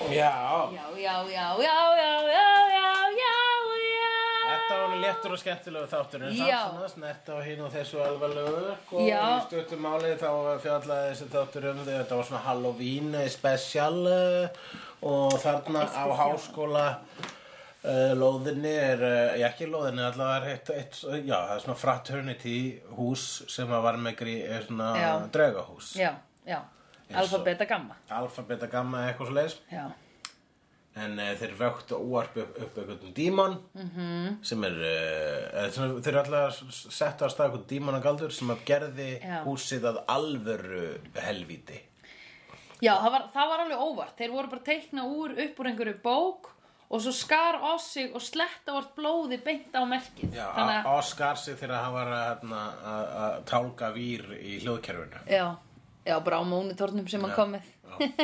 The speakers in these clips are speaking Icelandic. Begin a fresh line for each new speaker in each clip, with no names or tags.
Já,
Já, já, já, já, já, já, já, já, já.
þetta var nú léttur og skemmtilegu þáttur en
Já.
samt svona snert á hinn og þessu alvarlegu og
Já.
í stuttum máli þá fjallaði þessi þáttur um því þetta var svona Halloween special eh, og þarna á háskóla uh, lóðinni er, uh, já ekki lóðinni allavega er eitt, eitt, já það er svona fraternity hús sem að var með grí, eh, svona
Já.
draugahús
Já, já,
Eins og-
alfa, beta, gamma.
alfa, beta, gamma, eitthvað svo leis
Já,
en uh, þeir vöktu óarp upp, upp einhvern dímon
Mhm.
-hmm. sem er uh, þeir alltaf settu að stað einhvern dímonagaldur sem að gerði
Já.
húsið að alvöru helvíti
já það, var, það var alveg óvart. Þeir voru bara teikna úr upp úr einhverju bók og svo skar á sig og sletta vart blóði beint á merkið.
Já,
Þannig að,
Oscar sig þegar hann var að, hérna, að, að tálka vír í hljóðkerfinu
já, já, bara á mónitornum sem hann kom með.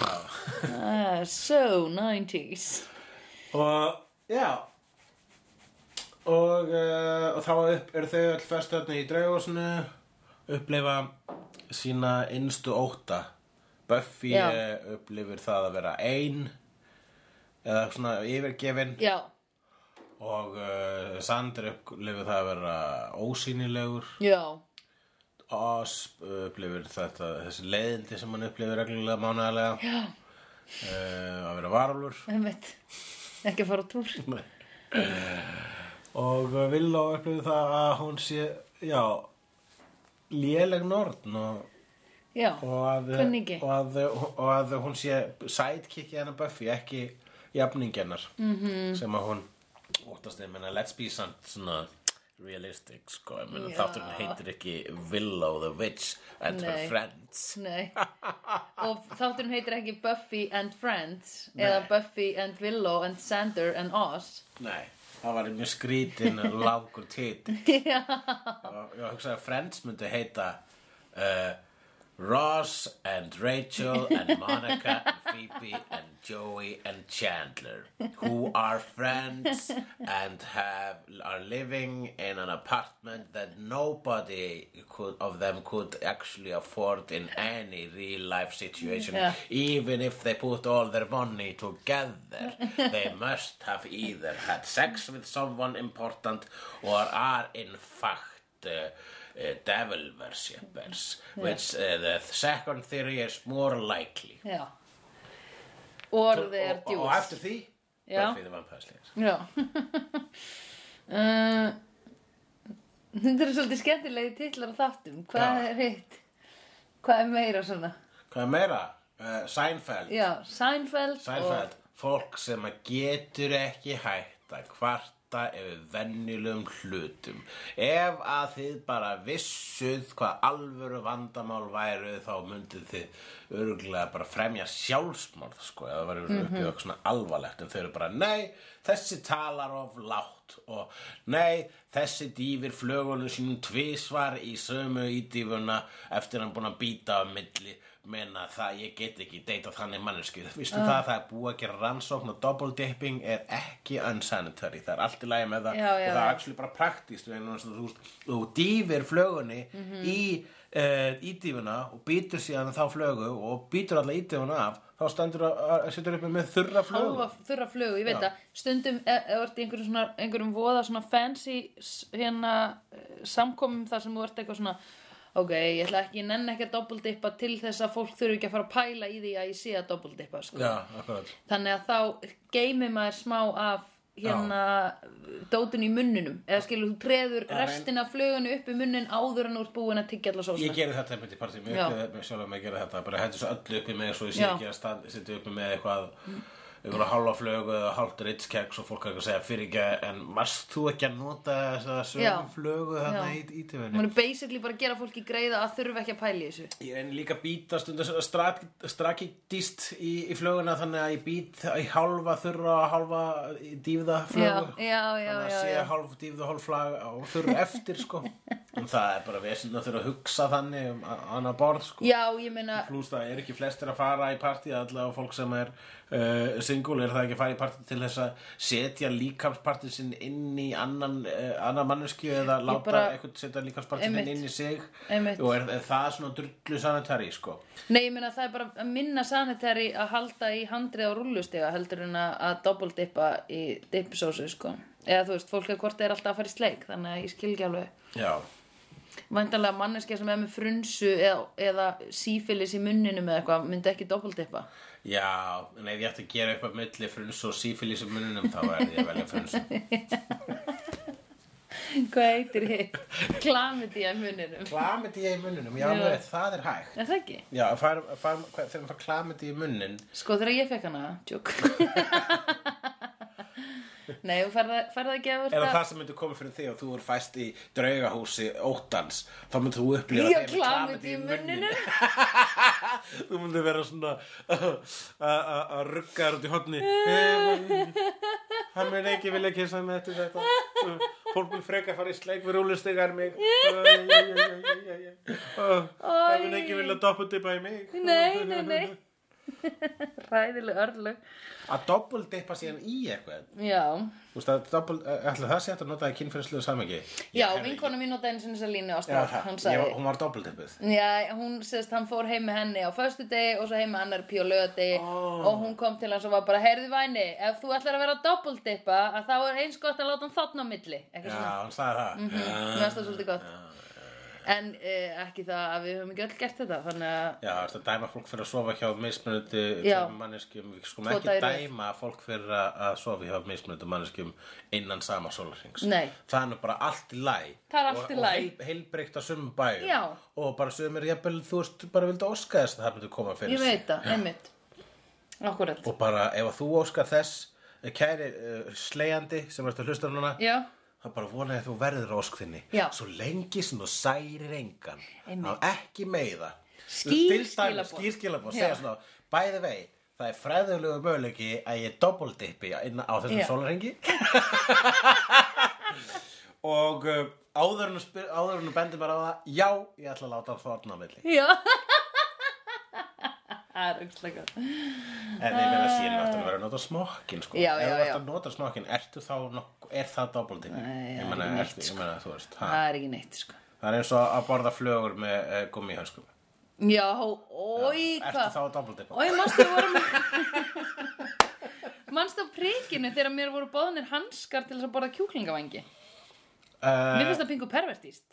Ah, so 90s.
og já og, uh, og þá upp, eru þau öll festöfni í draugásinu uppleifa sína innstu óta Buffy
Já.
eh, upplifir það að vera ein eða svona yfirgefin
Já,
og uh, Sander upplifir það að vera ósýnilegur
já,
Osp upplifir þetta þessi leiðindi sem hann upplifir reglulega mánaðarlega Já að vera varulur
einmitt. Ekki að fara á túr.
og uh, Villó upplifir það að hún sé já léleg nortn og,
Já,
og, að,
Kunningi.
og, að, og að hún sé sidekicki hennar Buffy ekki jafningennar mm
Mhm.
-hmm. sem að hún óttast ég meina let's be samt svona realistic sko ég meina
Já.
þátturinn heitir ekki Willow the Witch and her
Nei.
friends
Nei, og þátturinn heitir ekki Buffy and Friends eða Buffy and Willow and Sander and Oz
Nei, það var mjög skrítin og langur titill og ég hugsaði að Friends myndi heita uh, Ross and Rachel and Monica and Phoebe and Joey and Chandler who are friends and have are living in an apartment that nobody could, of them could actually afford in any real life situation
Yeah.
Even if they put all their money together, they must have either had sex with someone important or are in fact uh, uh, devil worshippers, which uh, the second theory is more likely. Oh,
Já Or they are
Og- Og
Jews
eftir því,
Já.
Buffy the Vampire Slayer.
Já uh, Þetta eru svolítið skemmtilegi titlar á þáttum Hvað
Já.
er hitt? Hvað er meira svona?
Hvað er meira? Uh, Seinfeld.
Já, Seinfeld,
Seinfeld, fólk sem að getur ekki hætt að kvarta yfir venjulegum hlutum. Ef að þið bara vissuð hvað alvöru vandamál væru þá myndið þið örgulega bara fremja sjálfsmorð sko, eða varum mm -hmm. uppið okkur svona alvarlegt en þau eru bara, nei, þessi talar of látt og nei, þessi dýfir flögunum sínum tvisvar í sömu ídýfuna eftir hann búin að býta á milli menna það ég get ekki deyta þannig mannesku vistu það að það er búið að gera rannsókn og double dipping er ekki unsanitary það er allt í lagi með það
Já, já,
og það er
já.
actually bara praktíst þú veist, þú veist, þú dýfir flögunni
Mhm.
í uh, ídýfuna og býtur síðan þá flögu og býtur alla ídýfuna af þá stendur að, að setur upp með þurra flögu
Hálfa þurra flugu, ég veit
Já.
það Stundum, e- ef þú ert í einhverjum, svona, einhverjum voða svona fancy s- hérna eh, samkomum þar sem þú ert eitthvað svona Ok, ég ætla ekki, ég nenni ekki að dobbeldippa til þess að fólk þurfi ekki að fara að pæla í því að ég sé að dobbeldippa sko.
já, akkurat
Þannig að þá geymir maður smá af hérna dótun í munninum eða skilur þú treður
er ein-
restina af flugunu upp í munnin áður en úr búin að tyggja allar
Ég
sósna
gerði þetta einmitt í partíum, ég
Já.
upplifði mig sjálf að mig gera þetta, bara hendur svo öllu upp í mig svo ég sé
Já.
ekki að stand, setja upp með eitthvað einhverja hálfa flögu eða hálft ritskeks og fólk er eitthvað að segja fyrir ekki en varst þú ekki að nota þessa
Já.
sögum flögu þarna
Já.
í ítöfunni?
Man er basically bara að gera fólki greiða að þurfa ekki að pæla í þessu
Ég reyni líka að býta stundum svona strak, strakidist í, í flöguna þannig að ég být í hálfa þurra og hálfa dýfða flögu
Já, já, já,
þannig að
já,
sé
já.
hálf dýfða og hálf flag og þurra eftir sko En það er bara vesinn að þurfa að hugsa þannig um a- annað borð sko.
Já, ég meina,
Plus það er ekki flestir að fara í partí allavega fólk sem er uh, single er það ekki að fara í partí til þess að setja líkamspartí sinn inn í annan, uh, annan manneski eða láta
bara-
eitthvað setja líkamspartí
Einmitt.
sinn inn í sig
Einmitt.
og er, er það svona drullu sanitari sko.
nei, ég meina það er bara að minna sanitæri að halda í handrið á rúllustega heldur en að, að dobbeldippa í dippsósu, sko. Eða þú veist, fólk er hvort er alltaf að fara í sleik, þannig að ég skil ekki alveg.
Já,
Væntanlega manneskja sem er með frunsu eða, eða sífilis í munninum eða eitthvað myndi ekki dobbeldippa.
já, en ef ég ætti að gera eitthvað milli fruns og sífélis í mununum þá er ég að velja fruns
Hvað heitir hitt? Klamiti í munninum.
Klamiti í mununum, já,
Já.
já. það er hægt
Er það ekki?
Já, far, far, hva, þegar maður fær klamiti í munnin
Sko þegar ég fekk hana, tjók Nei, þú færða, færða ekki að
eða
verða
það sem myndi koma fyrir þig og þú er fæst í draugahúsi óttans þá myndi þú upplifa
Ég
þeim
klamið
með
í
klamydíu
munninum
þú myndi vera svona að rugga þér út í hotni hann mun ekki vilja kissa með eftir þetta Eh, fólk mun freka að fara í sleik við rúlistegar mig hann mun ekki vilja doppudipa í mig
Nei, nei, nei Ræðileg örlög
að doppuldipa síðan í eitthvað
Já,
Þú veist að doppul, ætla það sé hægt að nota það í kynferðislegu samingi
já, vinkona mín og dænsinn þess að línu
Já,
ástaf,
það,
hann
ég, var-
sagði
hún var doppeltippið
Já, hún sérst, hann fór heim með henni á föstudegi og svo heim með annar píu á lögadegi og hún kom til hans og var bara, heyrðu væni, ef þú ætlar að vera dobbeldippa að þá er eins gott að láta hann þarna á milli, eitthvað
Já,
svona
hann sagði það mm
Mér finnst það svolítið gott En uh, ekki það að við höfum ekki öll gert þetta Þannig að
Já, ertu að dæma fólk fyrir að sofa hjá mismunandi
Já.
manneskjum Við skulum
Tvo
ekki
daga í röð.
dæma fólk fyrir að að sofa hjá mismunandi manneskjum innan sama sólarhengs
Nei.
Það er nú bara allt í læ
Það er allt í
Og, og
lagi.
heil, heilbreykt á sumum bæjum
Já.
Og bara sumir, jafnvel, þú veist, bara vildi óska þess að það myndi koma fyrir
ég veit það, einmitt Akkurat
Og bara ef að þú óskar þess, eh, kæri uh, slegjandi sem ertu að hlusta á núna
Já,
Það er bara vonaði að þú verður á óskþinni
Já.
Svo lengi sem þú særir engan
Einmitt.
Á ekki meiða
Skýr
Til dæmis,
skilaboð.
Skýr skilaboð,
Já.
segja svona Bæði vei, það er fræðulegu möguleiki að ég doppeldipi inn á þessum
Já.
sólarhengi Og uh, áður en þú spyr- áður en þú bendir bara á það Já, ég ætla að láta hann þorna á milli
já Það er aukslega gott
En ég verða síðan aftur að vera að nota smokkin sko.
Já, já,
Ef þú ert
já.
að nota smokkin, ertu þá nokku, er það doppeldipi?
Nei,
ég
það er
meina,
ekki neitt,
ertu, ég meina, þú veist ha.
Það er ekki neitt, sko
Það er eins og að borða flögur með uh, gummihönskum.
Já, oi,
Ertu
hvað
þá að doppeldipa?
Oi, manstu við vorum Manstu á prikinu þegar mér voru bóðnir hanskar til þess að borða kjúklingavangi
Eh,
Mér finnst það pingu pervertíst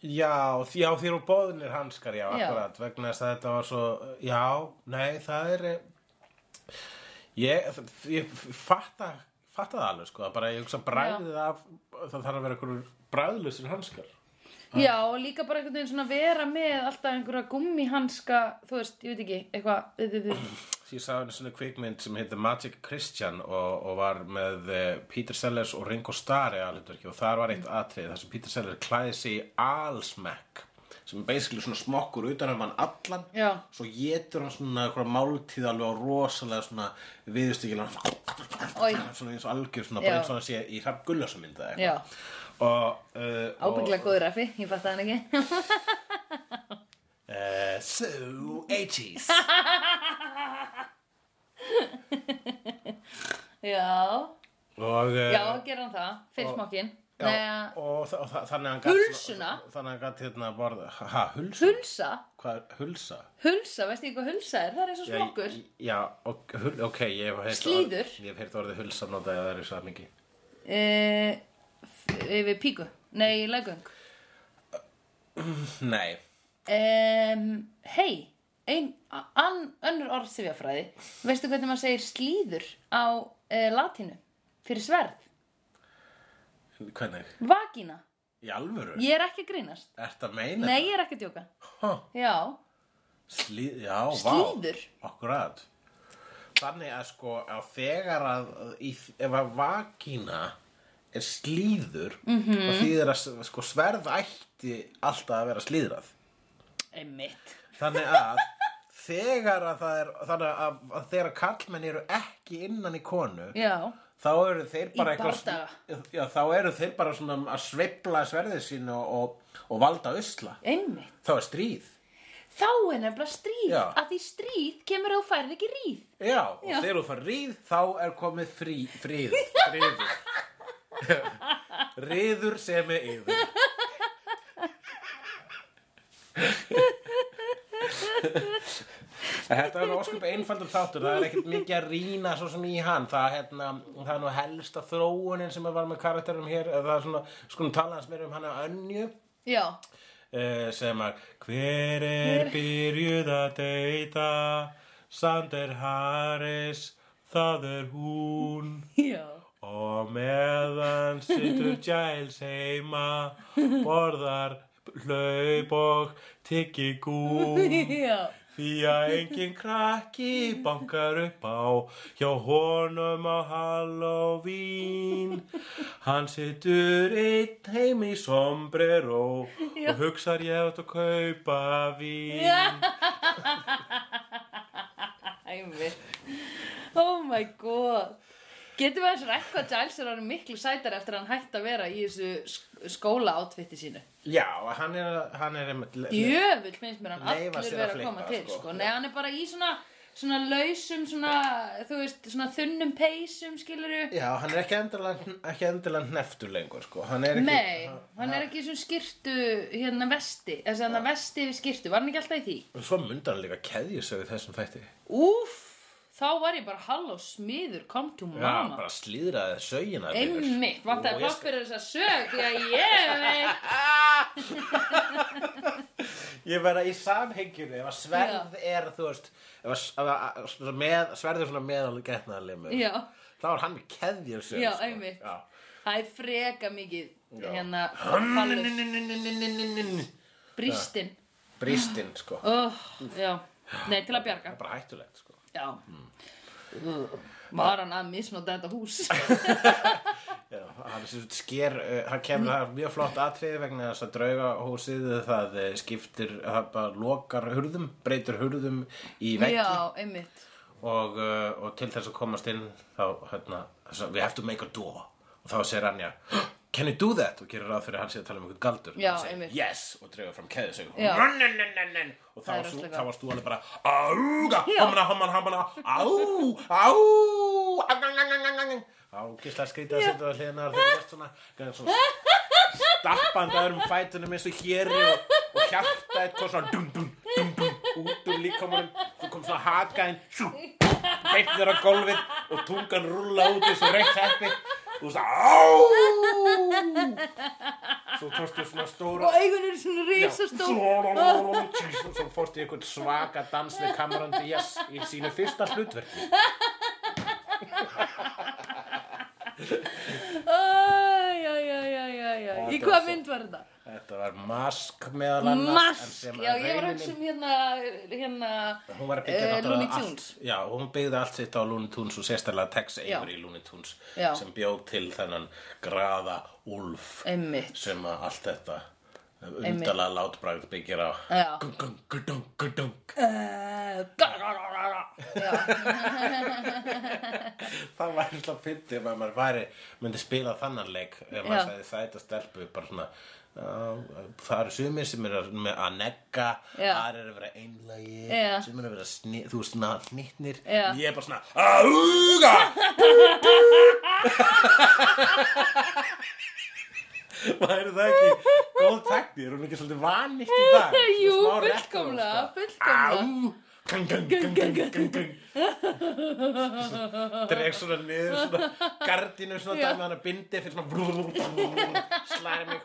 Já, því á þér og bóðinir hanskar, já,
Já.
akkurat, vegna þess að þetta var svo, já, nei, það er, eh, ég, ég fatta, fatta það alveg, sko, að bara ég hugsa bræðið af, það þarf að vera einhverjum bræðlusir hanskar. Ah.
Já, og líka bara einhvern veginn svona vera með alltaf einhverja gummihanska, þú veist, ég veit ekki, eitthvað, við, við, við.
Ég sá einu svona kvikmynd sem heitir Magic Christian og, og var með eh, Peter Sellers og Ringo Starr eða hlutverki og þar var eitt atrið þar sem Peter Sellers klæði sig í alsmekk sem er basically svona smokkur utan um hann allan
Já.
svo getur hann svona einhverja máltíð alveg á rosalega svona viðustíkilega
Oj.
svona eins og algjör svona
Já.
bara eins og hann sé í Hrafn Gullarsson mynda
Já.
og, uh, og
ábygglega góður effi, ég fatt það ekki.
Uh, so 80s
Já,
og uh,
já, gera hann það, fyrir smokkinn. Nei,
Já,
að
og þa- og þa- þannig að hann gat-
Hulsuna?
Þannig að hann gætt hérna að borða Ha, hulsuna?
hulsa,
Hvað er hulsa?
hulsa, veistu ekki hvað hulsa er, það er eins og
Já, ég-
smokkur.
Já, ok, hul, ok, ég hef heyrt
Slíður?
orð- Ég hef heyrt orðið hulsa notaði að það er í samingi
Eh, f- Yfir píku, nei, legung.
Nei,
Um, Hei, ein, an, önnur orð sifjafræði, veistu hvernig maður segir slíður á uh, latínu fyrir sverð,
hvernig?
vagina,
Í alvöru?
ég er ekki að grínast.
Ertu að meina?
Nei, ég er ekki að djóka.
huh,
Já,
Slíð, já,
slíður.
vá Akkurat Þannig að sko, að þegar að í, Ef að vakina er slíður -hmm.
Mhm.
og þýðir að sko, sverð ætti alltaf að vera slíðrað
Einmitt.
Þannig að þegar að það er þannig að, að þegar karlmenn eru ekki innan í konu
Já,
þá eru þeir bara
Í bardaga.
eitthvað já, þá eru þeir bara svona að sveifla sverðið sín og, og, og valda usla
einmitt
þá er stríð
þá er nefnilega stríð
Já.
að því stríð kemur að þú færð ekki ríð
já, og
Já.
þegar þú fær ríð þá er komið frí, fríð fríður ríður sem er yður Þetta er nú óskup einfaldur þáttur, það er ekkert mikið að rýna svo sem í hann, það, hérna, það er nú helsta þróunin sem var með karakterum hér, það er svona, skulum tala hans meira um hann að önju,
já,
Eh, sem að hver er byrjuð að deyta Sander Harris það er hún
já
og meðan situr Giles heima borðar hlaup og tyggi gúm
já,
því að engin krakki bankar upp á hjá honum á Halloween hann situr einn heim í sombrero
Já.
og hugsar ég átt að kaupa vín
einmitt oh my god getum við aðeins rækka að Giles er orðið miklu sætar eftir að hann hætti að vera í þessu sk- skóla átfitti sínu
já, hann er, hann er einmitt le- le-
djöfull finnst mér hann
Leyfa
allur
sér að
vera að
flippa,
koma til
sko.
sko. Nei, hann er bara í svona, svona lausum svona, þú veist, svona þunnum peysum skiluru
já, hann er ekki endilega, ekki endilega neftur lengur sko. hann er ekki
Nei, hann er ekki í svona skirtu hérna vesti, þessi hann vesti við skirtu, var hann ekki alltaf í því?
og svo myndar hann líka keðjusögu þessum þætti
Úff, þá var ég bara hall og smiður, kom to
já,
mama
bara slíðraði sögina fyrir.
Einmitt,
Og
vantaði
ég-
plopp fyrir þess að sög, já ég veit
Ah! Ég verða í samhengjunni, ef að sverð er, þú veist, ef að, ef að svona með, sverð er svona meðal getnaðarlimur,
Já.
þá er hann með keðjur sem, sko.
Já, einmitt.
Já.
Það er freka mikið,
Já.
hérna, fallus,
Hannunununununununununununununununununununununununun.
brístinn
Bristinn, sko.
oh, Já, nei, til að bjarga
Það er bara hættulegt, sko.
Já mm. Var hann að misnóta þetta hús
Já, hann sem sagt sker, uh, hann kemur það er mjög flott atriði vegna þess að draugahúsið það uh, skiptir, það bara lokar hurðum, breytir hurðum í veggi
Já, einmitt
og, uh, og til þess að komast inn þá hérna, þess að we have to make a door og þá segir Anja can you do that og gerir ráð fyrir að hann sé að tala um einhvern galdur
Já,
og hann segir
einmitt.
yes og dregur fram keðu sig
Já.
og þá
Það er
varst þú-
rosalega.
þá varst þú alveg bara ága, homana, homana, homana á, á á, gísla skrítið að setja það hliðinar þegar þú veist svona, gæði svona stappandi öðrum fætunum eins og hérri og, og hjarta eitthvað svona dum, dum, dum, dum, út úr líkamanum þú kom svona hakaðin sjú, beitt þér á gólfið og tungan rúla út eins og reykt heppi og þú svona á svo tókstu svona stóra
Og augun eru svona risastór
Svo fórst ég einhvern svaka dans við Cameron Diaz í sínu fyrsta hlutverki
Æj, æj, æj, æj, æj, æj Í
Þetta var
hvaða
svo-
mynd var þetta?
Þetta var mask meðal annars en
Mask,
sem
já
að
ég var að
rauninni-
hugsa um hérna Hérna
Hún var að byggja
eh, Looney
náttúrulega allt
Tunes
Já, hún byggði allt sitt á Looney Tunes og sérstaklega Tex
Já.
Avery Looney Tunes
Já.
sem bjóð til þennan graða Ulf
Einmitt
sem að allt þetta undalega látbragð byggir á
Já.
Gung, gung, gudung, gudung.
Eh, ga- ga- ga- ga- ga. Já,
Það var alltaf fyndið ef að maður væri myndi spila þannan leik ef
Já.
maður sagði sæta stelpu bara svona "Já, Það eru sumir sem eru að- með að negga,
Já.
aðrir eru að vera einlægi,
Já.
sem eru að vera sni, þú veist svona hnittnir,
Já.
ég er bara svona AUGA! Væri það ekki góð takti, er hún ekki svolítið vanitt í dag? Svona
Jú,
smá retro,
fullkomlega,
sko.
fullkomlega.
Au! Gung, gung, gung, gung, gung, gung dreg svona niður svona gardinu svona
Já.
dæmi hann að bindi fyrir svona brú, brú, brú, slæri mig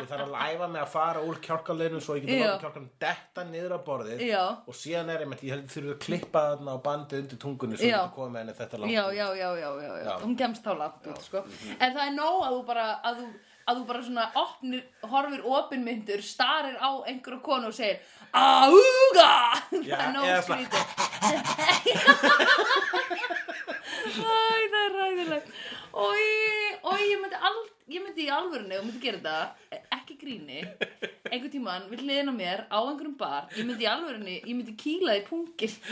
ég þarf að læfa mig að fara úr kjálkaleinu svo ég geti
Já.
látið kjálkanum detta niður á borðið
Já.
og síðan er ég með ég held þurfið að klippa þarna á bandið undir tungunni svo
Já.
ég geti komið með henni þetta langt
já,
út.
já, já, já, já, já.
Já. Mhm.
Hún kemst þá langt út, sko En það er nóg að þú bara að þú, að þú bara svona opnir, horfir opinmyndur starir á einhverja konu og segir Ága
Já,
Það er nóg
eða svona-
skrítið Æ, það er ræðilegt Og ég myndi, al, ég myndi í alvörinu og myndi gera þetta, ekki gríni einhvern tímann við hliðina á mér á einhverjum bar ég myndi í alvörinu, ég myndi kýla í pungin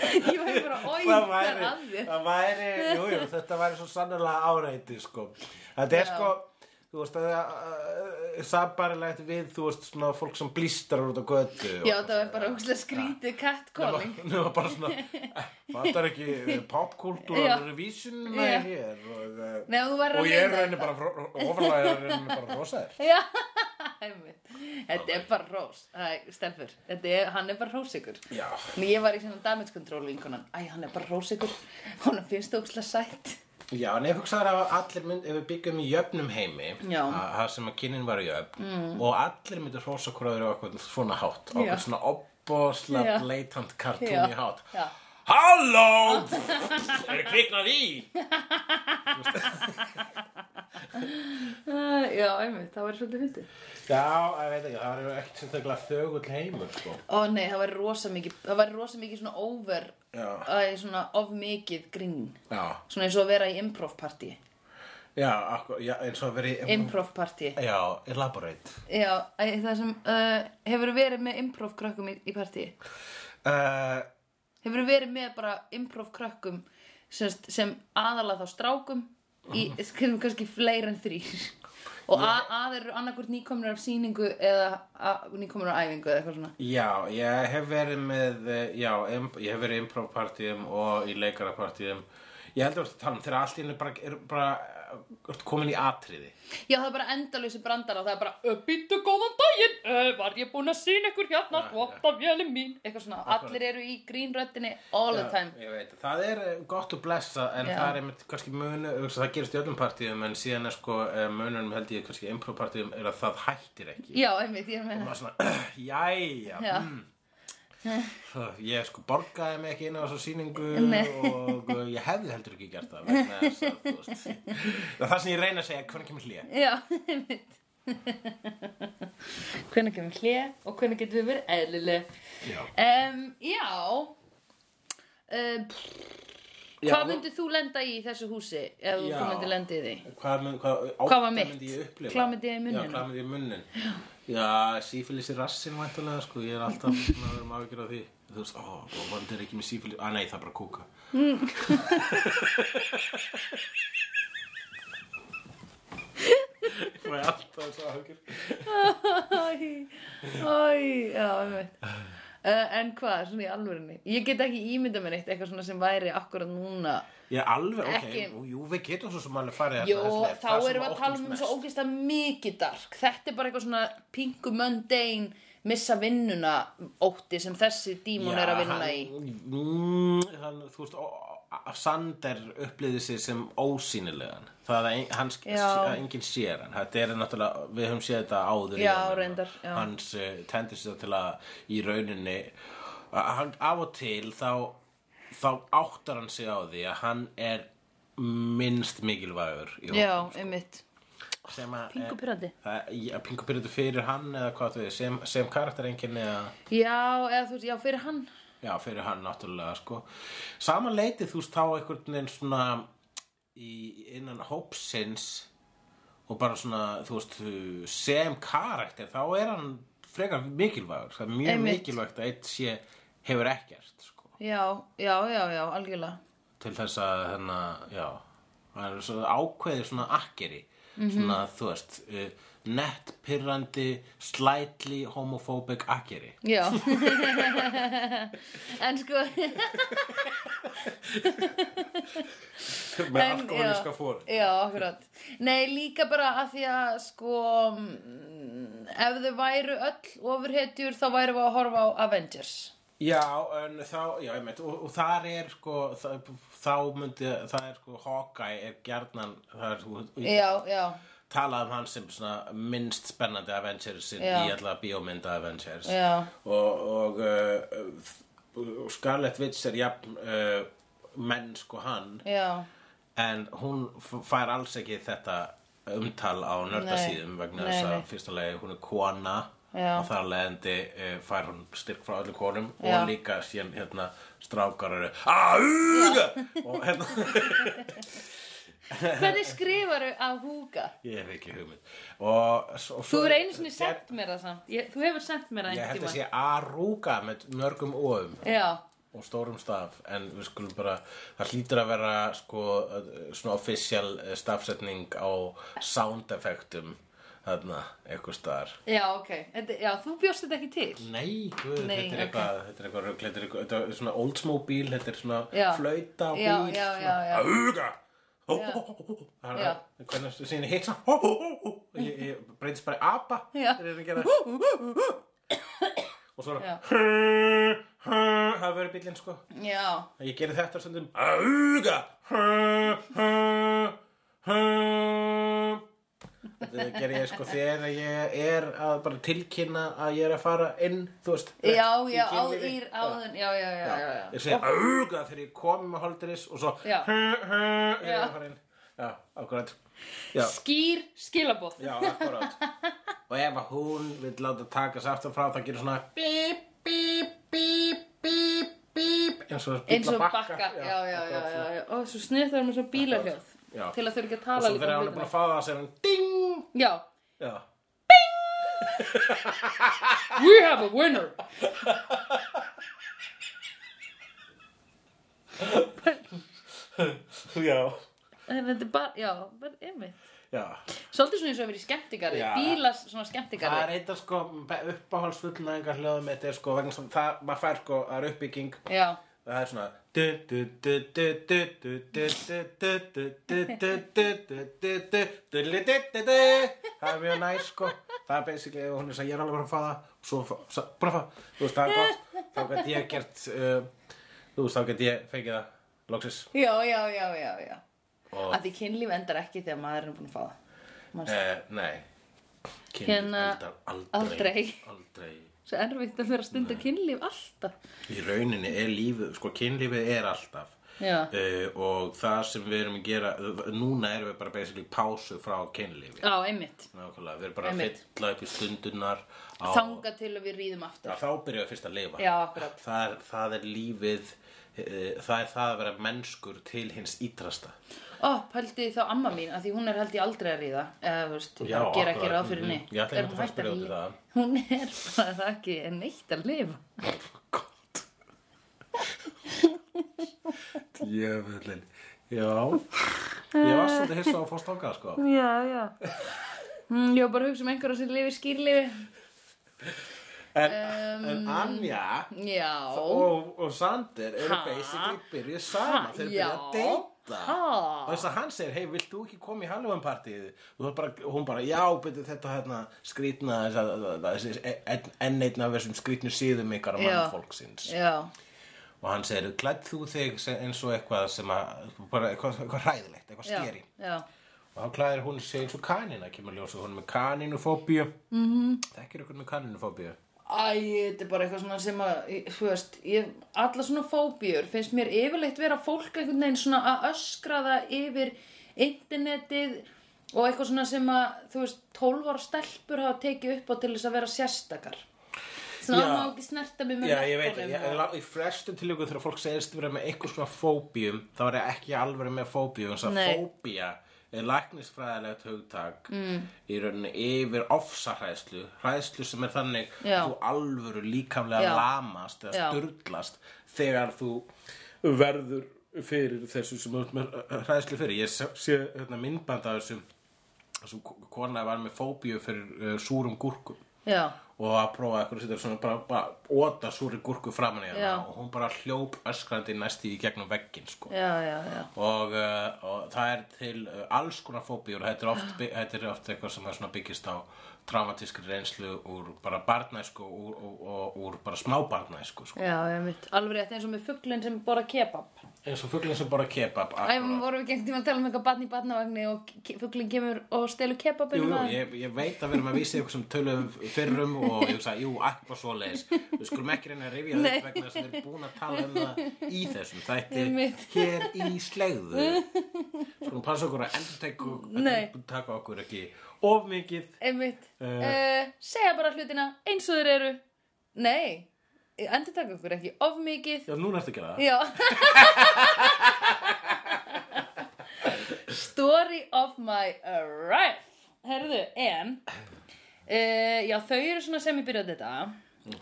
Ég var bara, oi,
það
hvað er
væri,
að þér?
það væri, jú, jú, þetta væri svo sannlega áreiti, sko. Þetta er
Já.
sko, þú veist, það er sambarilegt við, þú veist, svona fólk sem blístar út á götu. og-
Já, það var bara ógustlega skrítið catcalling.
Nú var bara svona, fattar ekki eh,
Já.
popkultúran revísunna
Já.
hér og, eh,
Nei, þú var
og ég er rauninni bara, ofurlega er rauninni bara rosaðir.
Já, einmitt. Þetta er bara rós. Æ, Stelfur, þetta er, hann er bara rósikur.
Já.
En ég var í svona damage control vinkonan. Æ, hann er bara rósikur. Hún finnst það ógustlega sætt.
Já, en ef hugsaður að allir mynd, ef við byggjum í jöfnum heimi,
Já.
að- það sem að kynin var jöfn mm. og allir myndu hrósa hverður á eitthvað svona hátt, á
Já.
eitthvað svona opboslega
Já.
blatant
Já.
kartúni hátt.
Já.
Halló! er kviknað í?
Æ, Já, einmitt, það var svolítið fyndið.
Já, ég veit ekki, það eru ekkert sérstaklega þögull heimur, sko.
Ó nei, það var rosa mikið, það var rosa mikið svona over,
Já.
Æ, svona of mikið grín.
Já,
Svona eins og að vera í improv party.
já, akkur, já eins og að veri...
Improv party.
Já, elaborate.
Já, æ, það sem uh, hefur verið með improv krökkum í, í partíi.
Uh,
Hefur verið með bara improv krökkum sem, sem aðalega þá strákum í skrifum kannski fleiri en þrýr og a- að eru annarkvort nýkomnir af sýningu eða a- nýkomnir af æfingu eða eitthvað svona
Já, ég hef verið með, eh, já, im, ég hef verið í improv-partíum og í leikara-partíum. Ég heldur að tala um þegar allt í henni bara, er bara, er komin í atriði.
Já, það er bara endalösi brandar og það er bara Býttu góðan daginn, uh, var ég búin að sýna ykkur hérna, þvóta vélum mín Eitthvað svona, allir eru í grínröddinni all the time
Já, ég veit, það er eh, gott að blessa en
Já.
það er einmitt kannski munu, hugsa, það gerist í öllum partíum en síðan er sko eh, mununum held ég kannski í improv-partíum er að það hættir ekki.
Já, einmitt, ég er að meina
Það er svona, jæja,
Já,
Það- Ég sko borgaði mig ekki inn á þessu sýningu
Nei.
og eh, ég hefði heldur ekki gert það vegna þess að þú veist það er það sem ég reyna að segja hvernig kemur hlýja
já, einmitt Hvernig kemur hlé og hvernig getum við verið eðlileg
Já,
Um, já um,
Já,
Hvað
þú-
myndir þú lenda í þessu húsi ef þú-
Já.
þú myndir lenda í því?
Hvað, mun, hvað,
Hvað var
átta
mitt?
myndi ég upplifa?
Hvað myndi ég í munninum?
Já, hvað myndi ég í munnin? Já, sífélis í rassin væntulega, sko, ég er alltaf svona að vera maður ágjur á því. Þú veist, ó, og vandi er ekki með sífélis, að nei, það er bara kúka.
Mm.
Ég fæ alltaf svo ágjur.
Æ, æ, já, ég veit uh, En hvað, svona í alvörinni? Ég get ekki ímynda mér eitt eitthvað svona sem væri akkurat núna
Ég er alveg, ok,
Ekki-
jú, jú, við getum svo sem alveg farið
Jó,
þarna, þarna,
þá
það sem
erum við að tala um
óttumst mest.
svo ógeðslega mikið dark Þetta er bara eitthvað svona pingu mundane missa vinnuna ótti sem þessi dímon er að vinna í
hann, mm, hann, þú veist, ó- á- Sander upplýði sig sem ósýnilegan það að ein- hann,
Já.
að enginn sér hann þetta er náttúrulega, við höfum séð þetta áður í
Já,
honum.
reyndar, já.
hans uh, tendir sér til að í rauninni að hann af og til þá, þá áttar hann sig á því að hann er minnst mikilvægur í
Já,
hópnum,
einmitt
sko, sem að
Pingu
eh,
pirrandi.
það- já, pingu pyrrandi fyrir hann eða hvað þú veist, sem, sem karakterenginni eða
Já, eða þú veist, já, fyrir hann
Já, fyrir hann náttúrulega sko. Saman leitið þú veist þá einhvern veginn svona í, innan hópsins og bara svona, þú veist, sem karakter, þá er hann frekar mikilvægur. Það er mjög
Einmitt.
mikilvægt að eitt sé hefur ekkert sko,
Já, já, já, já, algjörlega
til þess að hennar, já, hann er svona ákveðið svona akkeri,
Mhm.
svona, þú veist, uh, nett, pyrrandi, slightly homophobic akkeri.
Já En sko
Með
en, já, Já, akkurat Nei, líka bara að því að sko mm, ef þau væru öll ofurhetjur þá væru við að horfa á Avengers
Já, en þá, já, ég meint, og, og þar er sko, það, þá myndi, það er sko, Hawkeye er gjarnan, það er sko, ég
Já, já,
talað um hann sem svona minnst spennandi Avengersin
Já.
í alla bíómynda Avengers.
Já.
Og, og uh, uh, Scarlet Witch er jafn uh, mennsku hann,
já
en hún f- fær alls ekki þetta umtal á nördasíðum vegna
Nei,
þess að
nei.
fyrsta lagi hún er kona
Já.
og þar leðandi uh, fær hún styrk frá öllum konum
Já.
og líka síðan hérna strákar eru "Auga!" og hérna
Hvernig skrifaru að húka?
ég hef ekki hugmynd og, s- og
Þú
svo
hefur einu sinni sent mér það samt ég, Þú hefur sent mér það
ég
einhvern
held
tíma
að sé arúga með mörgum óum
Já,
og stórum staf en við skulum bara, það hlýtur að vera sko, eh, svona official eh, stafsetning á sound effectum þarna, eitthvað staðar
Já, ok, Þetta, já, þú bjóst þetta ekki til
Nei, guð,
Nei,
þetta er
ok.
eitthvað, þetta er eitthvað rugl, þetta er eitthvað, þetta er svona Oldsmobile, þetta er svona
Já.
flauta á bíl,
Já, já, já, já.
svona auga, hó,
Já.
hó, hó, hó, það
Já.
er, hvernig þú séðin hitt svona, hó, hó, hó, hó, og ég, ég breytist bara í apa,
Já.
þeir eru að gera, hú, hú, hú, hú,
Já.
og svona, hú, hú, það verið bílinn, sko,
Já,
ég gerði þetta stundum, auga, hú, hú, hú, Þetta ger ég sko þegar ég er að bara tilkynna að ég er að fara inn, þú veist.
já,
rétt
já,
í
á,
kynlífi.
í, áðun Já, já, já, já, já.
Ég segi auga þegar ég kom með holduris og svo
Já.
hö, hö, þegar ég
Já.
er að fara inn. Já, akkurat. Já,
Skýr skilabóð
já, akkurat. Og ef að hún vil láta taka sig aftur frá það gerir svona bíp, bíp, bíp, bíp, bíp, eins og
Eins og
bíll á
bakka, já, já, já, já,
akkurat.
já, Og svo snið það er með svo bílarhjóð
Já.
Til að þau ekki að
Og
tala
svo þegar hann er búin að fá það, segir hann ding.
hlutina. Já,
Já,
we have a winner
já,
En þetta er bara, já, bara einmitt
já.
Svolítið svona eins og að vera í skemmtigarði
Já.
Bílas svona
Það er
skemmtigarði
eitthvað sko uppáhaldsfullnæðingar hljóðum þetta er sko vegna sem það, maður fær sko, það er uppbygging
Já,
það er svona du, du, du, du, du, du, du, du, du, du, du, du, du, du, du, du, du, du, du, du, du. það er mjög næs sko það er basically, og hún er svo, ég er alveg bara að fá það og svo, fá- sa- bara að fá, þú veist, það er gott þá get ég gert uh, þú veist, þá get ég fengið það loksis
já, já, já, já, já.
og,
Að því kynlíf endar ekki þegar maður er búin að fá það Manstu?
uh, nei Kynlíf
Hérna,
endar
aldrei.
aldrei
Svo erfitt að vera að stunda kynlíf alltaf
Í rauninni er lífið, sko kynlífið er alltaf
Já,
uh, og það sem við erum að gera, núna erum við bara basically pásu frá kynlífi.
á, einmitt
Nákvæmlega, við erum bara að
Einmitt.
fylla upp í stundunar á,
Þanga til að við rýðum aftur
að þá byrjuðu fyrst að lifa.
Já, akkurat.
Það er, það er lífið, uh, það er það að vera mennskur til hins ítrasta.
Ó, pældi þá amma mín, að því hún er held ég aldrei að ríða eða, þú veist,
Já,
að gera ekki
akkurat,
ráð fyrir
mhm.
henni
Ég ætla
Er hún
einmitt að fara
hætt
að spyrja út í
li-
það.
Hún er bara ekki neitt að lifa
Gott. Djöfullin. Já. Ég var svolítið hissa á að fá stangað, sko.
Já, já mm, Ég var bara að hugsa um einhverja sem lifir skýrlifi
En,
Um.
en Anja...
Já
og, og Sander eru
Ha?
basically byrjuð saman
Ha,
þeir
já.
byrja að deyta
Ha?
og þess að hann segir, hei, vilt þú ekki koma í Halloween partíð og það bara, og hún bara, já, byrju þetta hérna skrýtna þessa- þessi enn- enn einn af þessum skrýtnu síðum ykkar
Já.
mannfólksins
Já,
og hann segir, klædd þú þig sem- eins og eitthvað sem að, bara eitthvað, eitthvað hræðilegt eitthvað
já,
skeri
já
og hann klæðir hún sig eins og kanina kemur ljósa hún er með kaninufóbíu mm
Mhm.
-hmm. þekkir ykkur með kaninufóbíu
Æ, þetta er bara eitthvað svona sem að, þú veist, ég, alla svona fóbíur finnst mér yfirleitt vera fólk einhvern veginn svona að öskra það yfir internetið og eitthvað svona sem að, þú veist, 12 ára stelpur hafa tekið upp á til þess að vera sérstakar. Svona
Já.
það má ekki snerta mig með
Já, ég veit,
löppunum
ég,
og-
ég, í flestu tilíku þegar fólk segist vera með einhvers svona fóbíum, þá er ég ekki alveg með fóbíum, þess að
Nei.
fóbía er læknisfræðilegt hugtak mm. í rauninni yfir ofsahræðslu, hræðslu sem er þannig
Já.
þú alvöru líkamlega
Já.
lamast eða
Já.
sturdlast þegar þú verður fyrir þessu sem þú ert með eh, hræðslu fyrir. Ég sé, sé hérna, myndband af þessum þessum kona var með fóbíu fyrir uh, súrum gúrkum
Já,
og að prófa eitthvað sittur svona bara, bara óta súri gúrku framan í
Já.
hana og hún bara hljóp öskrandi næsti í gegnum veggin sko.
já, já, já.
og, uh, og það er til uh, alls konar fóbíur þetta er oft, by- þetta er oft eitthvað sem er svona byggist á traumatískri reynslu úr bara barnæsku og, og, og úr bara smábarnæsku sko.
Já, ég veit, alveg rétt eins og með fugglinn sem borða kebab.
eins og fuglinn sem bara kebab
Æ,
akkúrat.
vorum við gengt tíma að tala um eitthvað barn í barnavagni og ke- fugglinn kemur og stelur
Jú,
kebabinu
jú, ég, ég veit að við erum að vísa ykkur sem töluðum fyrrum og ég hugsa, jú, akkur svoleiðis við skulum ekki reyna að rifja það upp
Nei.
vegna sem við erum búin að tala um það í þessum þætti
Einmitt.
hér í slegðu skulum passa okkur að endur taka,
Nei.
taka okkur ekki of mikið
Einmitt.
Eh.
Uh, segja bara hlutina eins og þeir eru. Nei, endur taka okkur ekki of mikið.
já, núna ertu að gera það
Já. Story of my life. Herðu, en, e, uh, já, þau eru svona sem ég byrjaði þetta,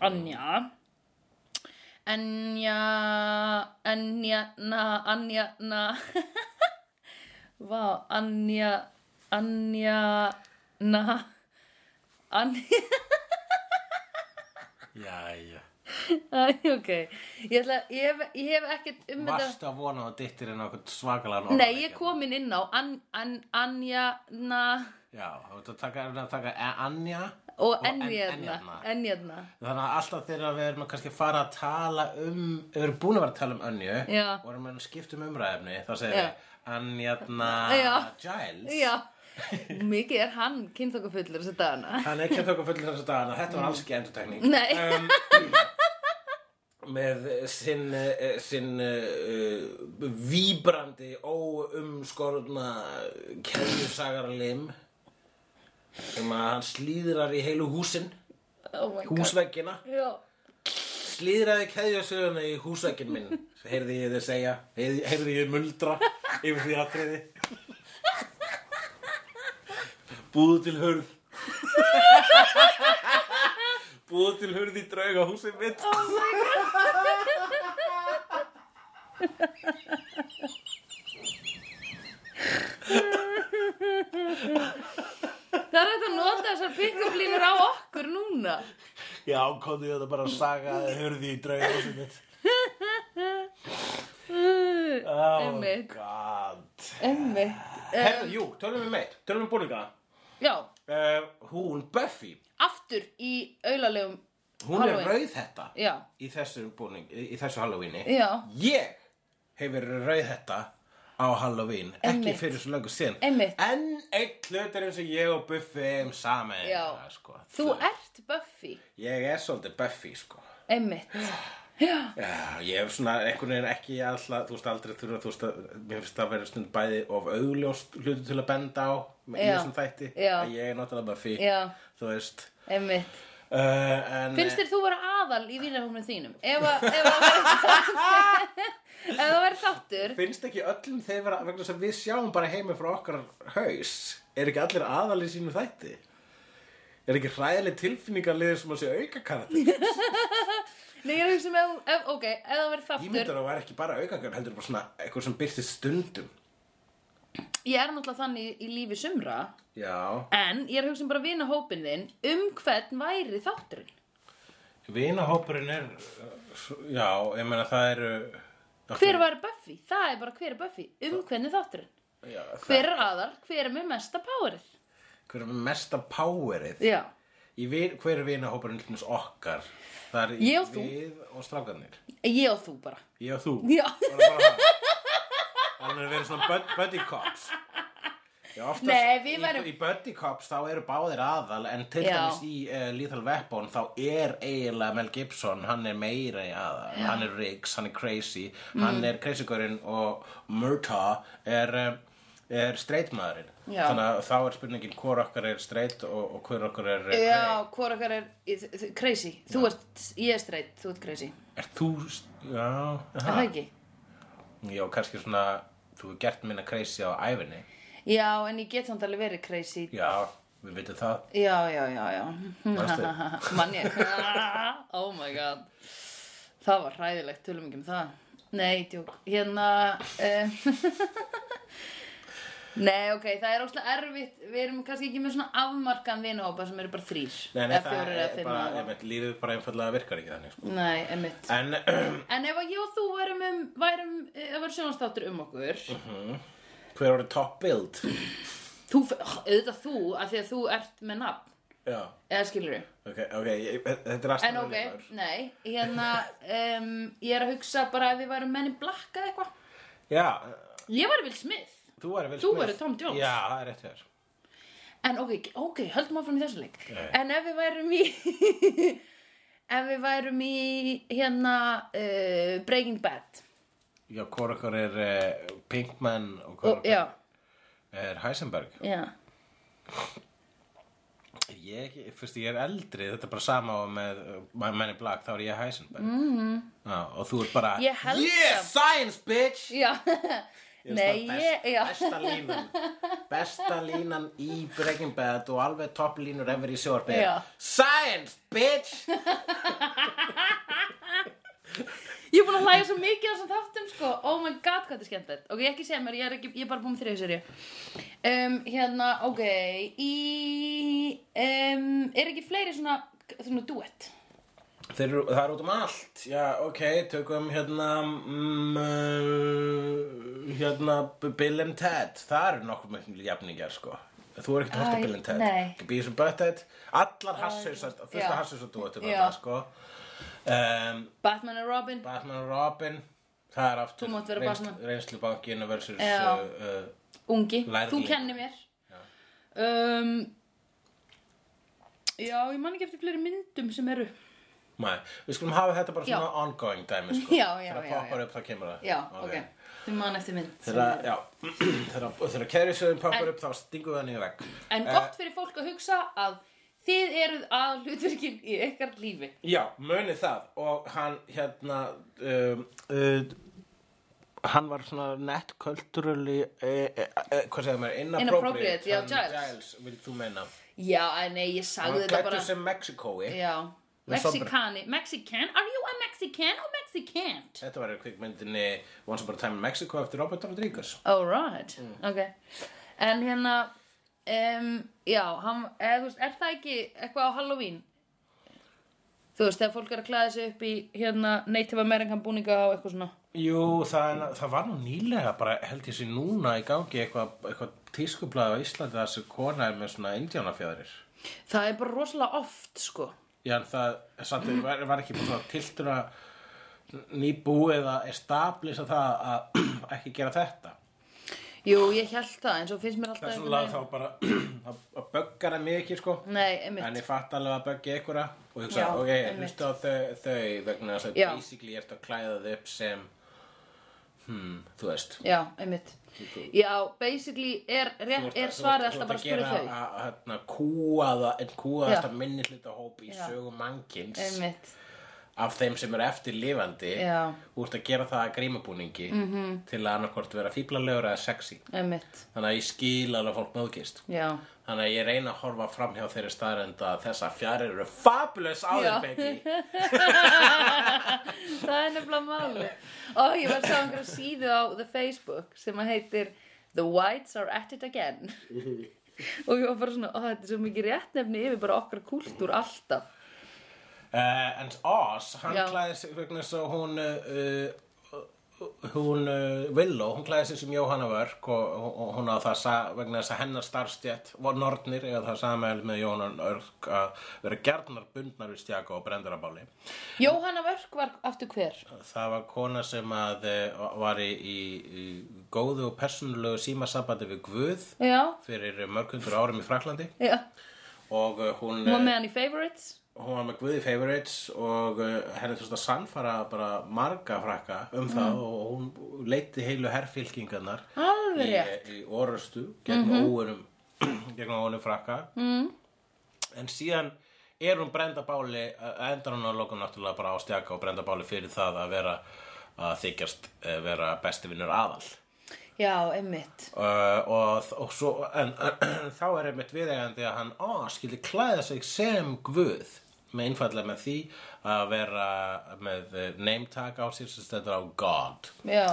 Anja, Enja, enja, na, anja, na. Vá, anja, anja, na, anja.
Jæja.
Æ, ok. Ég, ætla, ég, hef, ég hef ekkert um þetta.
Varst að vona að þú dittir inn á okkur svakalega
Nei, ég kom inn inn á an, an, anja, na
Já, þú ert að taka, þú ert að taka e- Anja
og
en-
enjarna.
enjarna.
Enjarna.
Þannig að alltaf þegar við erum að kannski fara að tala um, við erum búin að vera að tala um önju
Já.
og erum að skipta um umræðefni, þá segir
Já.
við Anjarna
Já.
Giles.
Já, mikið er hann kynþokkafullur þessi dagana.
Hann er kjönt okkur fullir þessu dagana, þetta var alls ekki endurtekning.
Nei.
Með sinn, eh, sinn uh, víbrandi, óumskorna keðjusagarlim sem að hann slíðrar í heilu húsin,
Oh my god.
húsveggina.
Já.
slíðraði keðjasöguna í húsækin minn heyrði ég þið segja heyrði, heyrði ég muldra yfir því atriði búðu til hurð búðu til hurð í drauga húsin mitt
Það er hægt að nota þessar pick-up línur á okkur núna.
já, komðu þetta bara að saga hurði í drauga húsin mitt oh
Einmitt. Um,
god
Einmitt. Eh,
Herðu, jú, tölum við meitt, tölum við búninga
Já,
uh, hún Buffy
aftur í auðalegum,
hún
Halloween.
er rauð þetta
já,
í þessu búning, í í þessu Halloweeni
Já.
ég hef verið rauð þetta á Halloween,
Einmitt.
ekki fyrir svo löngu síðan
Einmitt.
en eitt hlut er eins og ég og Buffy um saman
Já.
sko.
þú ert Buffy,
ég er svolítið Buffy sko.
einmitt.
Já, ég hef svona einhvern veginn ekki alltaf, þú veist aldrei þurfa, þú veist að, mér finnst það að vera stund bæði of augljóst hlutu til að benda á í
Já.
þessum þætti,
Já.
að ég er náttúrulega Buffy,
Já.
þú veist.
Einmitt.
Uh, en,
Finnst þér þú vera aðal í vínarhófnum þínum? Ef að- ef að ef það verður þáttur,
finnst ekki öllum þeir vera vegna þess að við sjáum bara heimi frá okkar haus er ekki allir aðal í sínu þætti er ekki hræðileg tilfinningarliðir sem að sé auka karakter
nei ég er að hugsa með, ef, ok, ef það verður
ég
þáttur,
myndir að það væri ekki bara auka karakter heldur bara svona eitthvað sem byrtist stundum
ég er náttúrulega þannig í lífi sumra,
já,
en ég er að hugsa um bara vinahópin þinn um hvern væri þátturinn.
vinahópurinn er já, ég meina það eru
Hver var Buffy? Það er bara hver er Buffy, um hvernig þátturinn.
já,
Hver er aðal, hver er með mesta powerið?
hver er mesta powerið
Já.
Í vin, hver er vinahópurinn hlumis okkar það er
Ég og þú.
við og strákarnir
Ég og þú bara.
ég og þú
Já.
bara bara það Þannig að vera svona bud, buddy cops Já, oftast
Nei, við værum-
í, í buddy cops þá eru báðir aðal en til
Já.
dæmis í uh, Lethal Weapon þá er eiginlega Mel Gibson hann er meira í aðal, hann er Riggs hann er crazy,
Mm.
hann er crazy gaurinn og Murtaugh er, uh, er straight maðurinn
Já.
þannig að þá er spurningin hvor okkar er straight og, og hver okkar er eh,
Já, hvor okkar er þ- þ- crazy. Þú ert, ég er straight, þú ert crazy.
er þú, s- já,
Er
aha.
það ekki?
já kannski svona þú er gert minna crazy á æfinni
Já, en ég get samt alveg verið crazy.
já, við vitum það
Já, já, já, já.
Manstu?
Mann ég. Oh my god. Það var hræðilegt, tölum ekki um það. Nei, tjók. Hérna, uh, nei, ok, það er óslega erfitt. Við erum kannski ekki með svona afmarkan vinahópa sem eru bara þrýr.
Nei, nei,
eða
það
fjórir eða
er
fimm
bara,
eða-
einmitt, lífið bara einfallega virkar ekki þannig, sko.
Nei, emitt.
En,
En ef að ég og þú værum, um, værum ef að sjónastáttur um okkur,
Mhm. hver voru top build?
þú, f- auðvitað þú, af því að þú ert með nafn,
Já,
eða skilur við.
ok, ok, ég, þetta er aðstæðan.
En ok, nei, hérna, um, ég er að hugsa bara ef við værum menn í blakk eða eitthvað.
Já,
Ég væri Will Smith,
þú væri vel
Þú væri Tom Jones.
Já, það er rétt hér.
en ok, ok, höldum áfram í þessu leik.
Nei.
En ef við værum í, ef við værum í, hérna, uh, Breaking Bad.
Já, hvor okkar er uh, Pinkman og hvor
Og,
okkar
já,
er Heisenberg.
já.
Er Ég, ekki- fyrst ég er eldri, þetta er bara sama og með uh, Men in Black, þá er ég Heisenberg. Mm -hmm. Já, og þú er bara,
Mhm. Ég held
yeah,
það.
science, bitch!
Já, nei,
finnst það
ég, já.
best, besta línan besta línan í Breaking Bad og alveg topp línur ever í sjórfið
Já.
Science, bitch
Ég er búin að hlæja svo mikið á þessum þáttum sko Oh my god, hvað þetta er skemmtilegt Ok, ekki segja mér, ég er, ekki, ég er bara búin með þriðu serið um, Hérna, ok Í um, Er ekki fleiri svona, svona duett?
Þeir, eru- það er út um allt Já, ok, tökum hérna mm, uh, Hérna B- Bill and Ted Það eru nokkuð mjög jafningjar sko Þú er ekkert hótt á
Æ,
Bill and Ted
nei.
Beavis and Butthead Allar hasshausar,
já.
fyrsta hasshausar þú þetta
Já.
sko um,
Batman og Robin
Batman og Robin Það er aftur
Þú mátt vera
reynslu,
Batman.
reynslubankinn versus
Já.
uh, uh,
Ungi,
Lærði
þú
líka.
kennir mér um, Já, ég man ekki eftir fleiri myndum sem eru
Nei, við skulum hafa þetta bara svona
Já.
ongoing dæmi sko.
Já, já,
Þegar
já,
það poppar
já.
upp þá kemur það
Já, ok, þú man eftir mynd sem
Þegar,
eru.
já, þegar, þegar keðrisöðum poppar
En-
upp þá stingum við hann í vegg Eh,
En gott fyrir fólk að hugsa að þið eruð að hlutverkin í ykkar lífi
Já, muni það og hann hérna um, uh, hann var svona net culturally uh, uh, uh, hvað segir maður,
Inappropriate,
inappropriate
já,
hann
Giles.
Giles, vil þú meina
Já, en nei, ég
Hann
sagði þetta
glættur
bara
sem Mexikói
Já,
Með sombra.
Mexikani, Mexican, are you a Mexican or Mexicant?
Þetta var í kvikmyndinni Once Upon a Time in Mexico eftir Robert Rodriguez
Alright, Oh, ok En hérna, um, já, hann, eð, veist, er það ekki eitthvað á Halloween? Þú veist, þegar fólk er að klæða sig upp í hérna Native American búninga og eitthvað svona
Jú, það, er- það var nú nýlega bara held ég sér núna í gangi eitthvað eitthva tískublaði á Íslandi þar sem kona er með svona indjánafjæðarir.
Það er bara rosalega oft, sko
Já, en það samt, var, var ekki bara tiltur að nýbúið að establisa það að ekki gera þetta.
Jú, ég held það, en svo finnst mér alltaf
Það er
einhvern
svona lag
veginn-
þá bara það- það böggar það mig ekki, sko.
Nei, einmitt
En ég fatt alveg að böggi einhverja og hugsa,
Já,
ok,
einmitt.
hlusta á þau, þau vegna þess að
Já.
basically ég ert að klæða þau upp sem, hmm, þú veist.
Já, einmitt Já, basically er,
Þú
rétt,
ert að-
er svarið
þú- þú
alltaf
ert
bara að spyrja
Þú ert að
þau
gera að- hérna, kúaða, en kúaðasta
Já.
minni hluta hóp í
Já.
sögu mannkins
Einmitt,
af þeim sem eru eftir lifandi.
Já. Mhm.
Þú ert að gera það að grímabúningi -hmm. til að annarkvort vera fíblalegur eða sexy.
einmitt
Þannig að ég skil alveg að fólk móðgist.
Já,
Þannig að ég reyna að horfa framhjá þeirri staðrenda að þessa fjarir eru fabulous á
Já.
þeim beki.
það er nefnilega máli Ó, ég var að sá einhverja síðu á The Facebook sem að heitir The Whites are at it again og ég var bara svona, ó, þetta er svo mikið rétt nefni yfir bara okkar kúltúr alltaf
Uh, en Oz, hann
Já.
klæði sig vegna svo hún... Uh, uh, hún uh, Willow, hún klæði sig sem Jóhanna Vörk og, og, og hún á það sa, vegna þess að hennar starfstjætt var nornir eða það samæli með Jóhanna Vörk að vera gjarnar bundnar við stjaka og brendarabáli
Jóhanna Vörk var aftur hver
það var kona sem að uh, var í, í, í góðu og persónulegu símasambandi við Guð
Já,
fyrir mörgundur árum í Fraklandi
já,
og uh, hún
hún var með hann í Favorites
hún var með Guði Favorites og uh, henni þurfti að sannfara bara marga frakka um
Mm.
það og hún leiti heilu herrfylkingarnar
Alveg
í,
rétt. Mhm.
í orustu gegn mm -hmm. óunum gegn óunum frakka mm. en síðan er hún brenda báli eh, endar hún að lokum náttúrulega bara á stjaka og brenda báli fyrir það að vera að þykjast eh, vera besti vinnur aðal
Já, einmitt
Uh, og, og svo, en, þá er einmitt viðegandi að hann á, skildi klæða sig sem guð með einfallega með því að vera með neymtak á sér sem stendur á God
Já,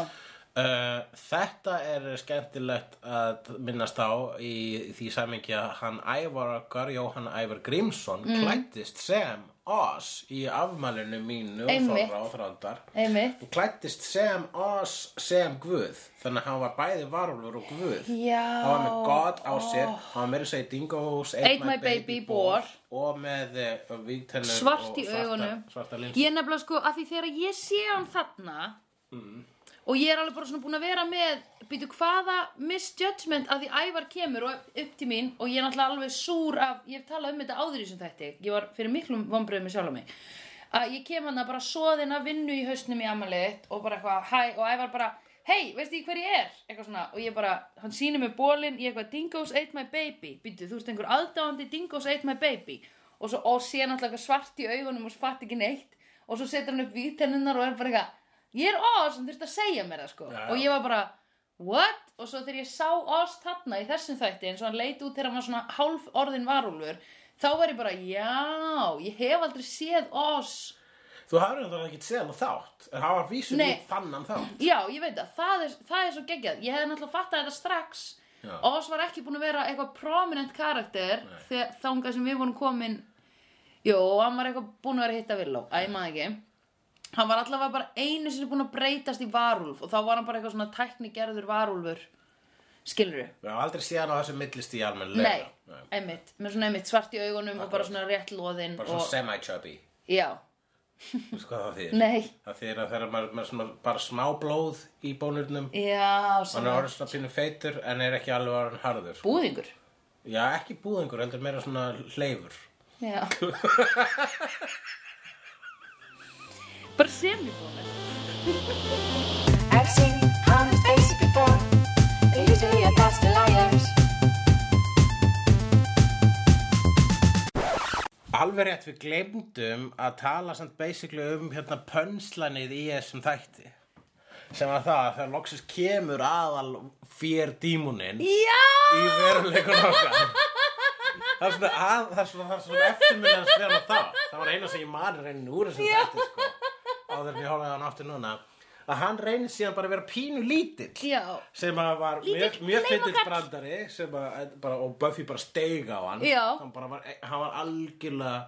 uh, Þetta er skemmtilegt að minnast á í því samingi að hann Ævar okkar, Jóhann Ævar Grímsson mm. klættist sem Oz í afmælinu mínu og
Einmitt.
Þóra og Þrándar
einmitt
Hún klættist sem oss, sem guð Þannig að hann var bæði varulur og guð
Já. Oh.
Hann var með God á sér Hann var meira að segja Dingoes Ate,
Ate My Baby Boar.
Og með uh, vígtennur
svart
og
í
svarta-
augunum
Svarta lins
ég nefnilega sko að því þegar ég sé hann þarna og ég er alveg bara svona búin að vera með býtu hvaða misjudgment að því ævar kemur og upp til mín og ég er náttúrulega alveg súr af ég hef talað um þetta áður í sem þætti ég var fyrir miklum vombriðum með sjálf á mig að ég kem hann að bara soðin að vinnu í hausnum í amalið og bara eitthvað hæ og ævar bara hei, veistu ég hver ég er? eitthvað svona og ég bara, hann sýnir mér bólin ég eitthvað, dingoes ate my baby býtu, þú veist einhver aðdáandi, dingoes ate my baby og svo, og sé náttúrulega eitthvað svart í augunum og svart ekki neitt og svo setur hann upp vítenninnar og er bara eitthvað ég er Oz, hann þurfti að segja mér það sko
Já.
og ég var bara, what? og svo þegar ég sá Oz þarna í þessum þætti eins og hann leit út þegar hann var svona hálf orðin varúlfur þá var ég bara, já ég hef aldrei séð Oz
Þú hafður náttúrulega ekki séð hann þátt En hann var vísum
Nei.
í þannan þátt
Já, ég veit það, það er, það er svo geggjað Ég hefði náttúrulega fattað þetta strax
Já.
Oz var ekki búin að vera eitthvað prominent karakter þegar þangað sem við vorum komin Jó, hann var eitthvað búin að vera að hitta Villó Æ, ég maður ekki Hann var allavega bara einu sinni búin að breytast í varúlf og þá var hann bara eitthvað svona tæknigerður varúlfur Skilur við?
Við hafa aldrei séð hann á þessu millist í
Nei,
almennlega
einmitt, með svona einmitt svart í augunum og bara svona rétt loðinn
Bara
og,
svona semi-chubby
Já,
Þú veist hvað það þýðir?
nei,
Það þýðir að þegar maður, maður svona, bara smá blóð í bónurnum
já,
Hann er
svona
orðin svona pínu feitur en er ekki alveg orðin harður sko.
búðingur
Já, ekki búðingur, heldur meira svona hleyfur
Já Bara semibúðingur
I've seen honest faces before. They're usually a pass to liars.
Alveg rétt við gleymdum að tala samt basically um hérna pönslanið í þessum þætti sem var það að þegar loksins kemur aðal fér dímunin í
Já
veruleikun okkar það er svona, að, það er svona, það er svona eftirmyndans við hann þá það var eina sem ég mani reynin úr þessum þætti sko áður en ég horfði á hann aftur núna að hann reynir síðan bara að vera pínu lítill
Já.
sem að var mjög,
Lítill
mjög fyndið
kleifakall.
brandari sem að, eh, bara, og Buffy bara steig á hann
Já.
hann, bara var, eh, hann var algjörlega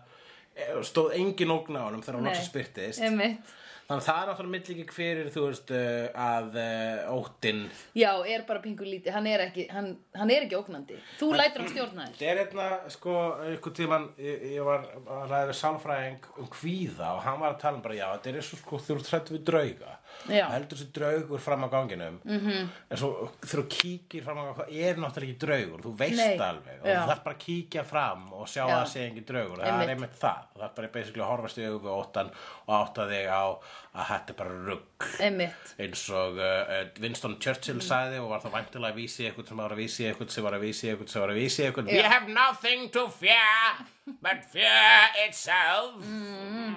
eh, stóð engin ógn á honum þegar hann
Nei.
loksins byrtist
Einmitt.
þannig að það er náttúrulega millikik fyrir þú veist uh, að uh, óttinn
Já, er bara pingur lítið, hann er ekki, hann, hann er ekki ógnandi Þú lætur hann stjórna þér
Þetta er einna, sko, einhvern tímann, ég, ég var að ræða við sálfræðing um kvíða og hann var að tala um bara, já, þetta er eins og sko, þú eru trætt við drauga.
Já. Mhm.
Það heldur þessi draugur fram á ganginum. Mm -hmm. En svo þegar þú kíkir fram á ganginum, það er náttúrulega ekki draugur, þú veist
Nei.
alveg. Og
Já.
þú þarf bara að kíkja fram og sjá
Já.
að það sé engin draugur. Það
Einmitt.
er einmitt það. Það er bara basically að horfast í augum við óttan og átta þig á að þetta er bara rugg
Einmitt
eins og uh, uh, Winston
Mm.
Churchill sagði og var það væntilega að vísi eitthvað sem var að vísi eitthvað sem var að vísi eitthvað sem var að vísi eitthvað We have nothing to fear but fear itself mm.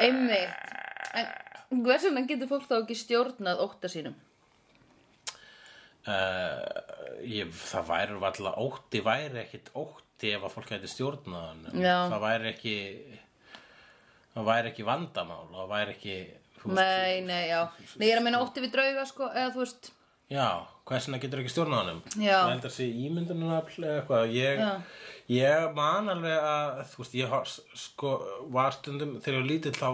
Einmitt En hvers vegna getur fólk þá ekki stjórnað ótta sínum?
uh, ég, Það væri alltaf ótti væri ekkit ótti ef að fólk hætti stjórnaðan
Já.
það væri ekki það væri ekki vandamál það væri ekki þú veist,
Nei, nei, já Nei, ég er að meina ótti við drauga, sko, eða þú veist
Já, hversina getur ekki stjórnað honum?
Já.
Það heldur sig ímyndunarafl eða eitthvað. Ég, ég man alveg að, þú veist, ég har, sko, var stundum, þegar ég var lítill þá